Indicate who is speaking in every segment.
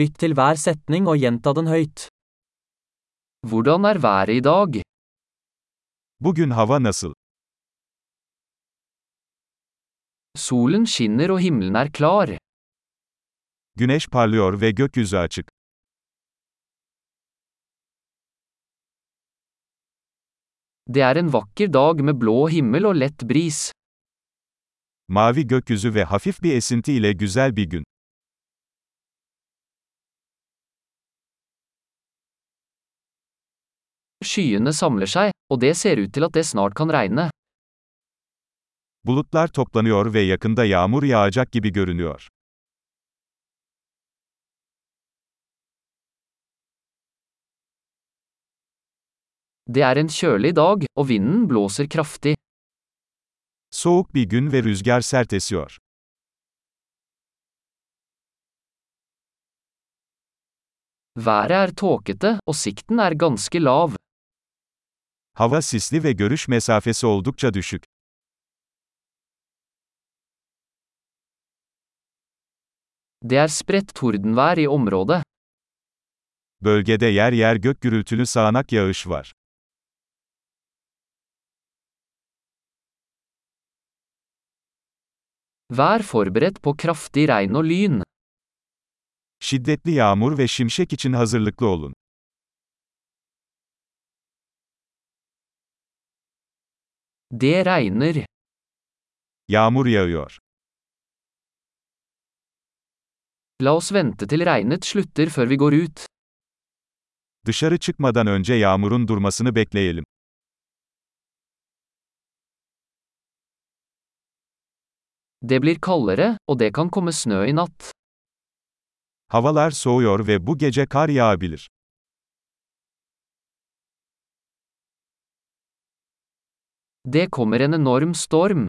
Speaker 1: Lytt til hver setning og gjenta den høyt.
Speaker 2: Hvordan er været i dag?
Speaker 3: Bugün hava nasıl?
Speaker 2: Solen skinner og himmelen er klar.
Speaker 3: Güneş parlıyor ve gökyüzü açık.
Speaker 2: Det er en vakker dag med blå himmel og lett bris.
Speaker 3: Mavi gökyüzü ve hafif bir esinti ile güzel bir gün.
Speaker 2: Skyene samler seg, og det ser ut til at det snart kan regne.
Speaker 3: Bulutlar toplanıyor ve yakında yağmur yağacak gibi görünüyor.
Speaker 2: Det er en kjølig dag, og vinden blåser kraftig.
Speaker 3: Soğuk bir gün ve rüzgar sert esiyor.
Speaker 2: Været er tåkete, og sikten er ganske lav.
Speaker 3: Hava sisli ve görüş mesafesi oldukça düşük.
Speaker 2: Det er spredt tordenvær i området.
Speaker 3: Bölgede yer yer gök gürültülü sağanak yağış var.
Speaker 2: Vær forberedt på kraftig regn og lyn.
Speaker 3: Şiddetli yağmur ve şimşek için hazırlıklı olun.
Speaker 2: Det regner.
Speaker 3: Yağmur yağıyor.
Speaker 2: La oss vente til regnet slutter før vi går ut.
Speaker 3: Dışarı çıkmadan önce yağmurun durmasını bekleyelim.
Speaker 2: Det blir kaldere, og det kan komme snø i natt.
Speaker 3: Havalar soğuyor ve bu gece kar yağabilir.
Speaker 2: Det kommer en enorm storm.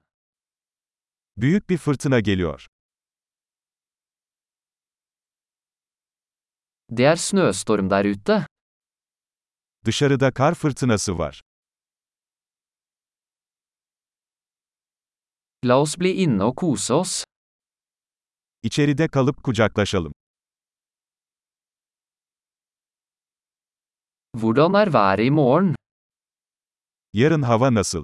Speaker 3: Büyük bir fırtına geliyor.
Speaker 2: Det er snøstorm der ute.
Speaker 3: Dışarıda kar fırtınası var.
Speaker 2: La oss bli inne og kose oss.
Speaker 3: İçeride kalıp kucaklaşalım.
Speaker 2: Hvordan er været i morgen?
Speaker 3: Yarın hava nasıl?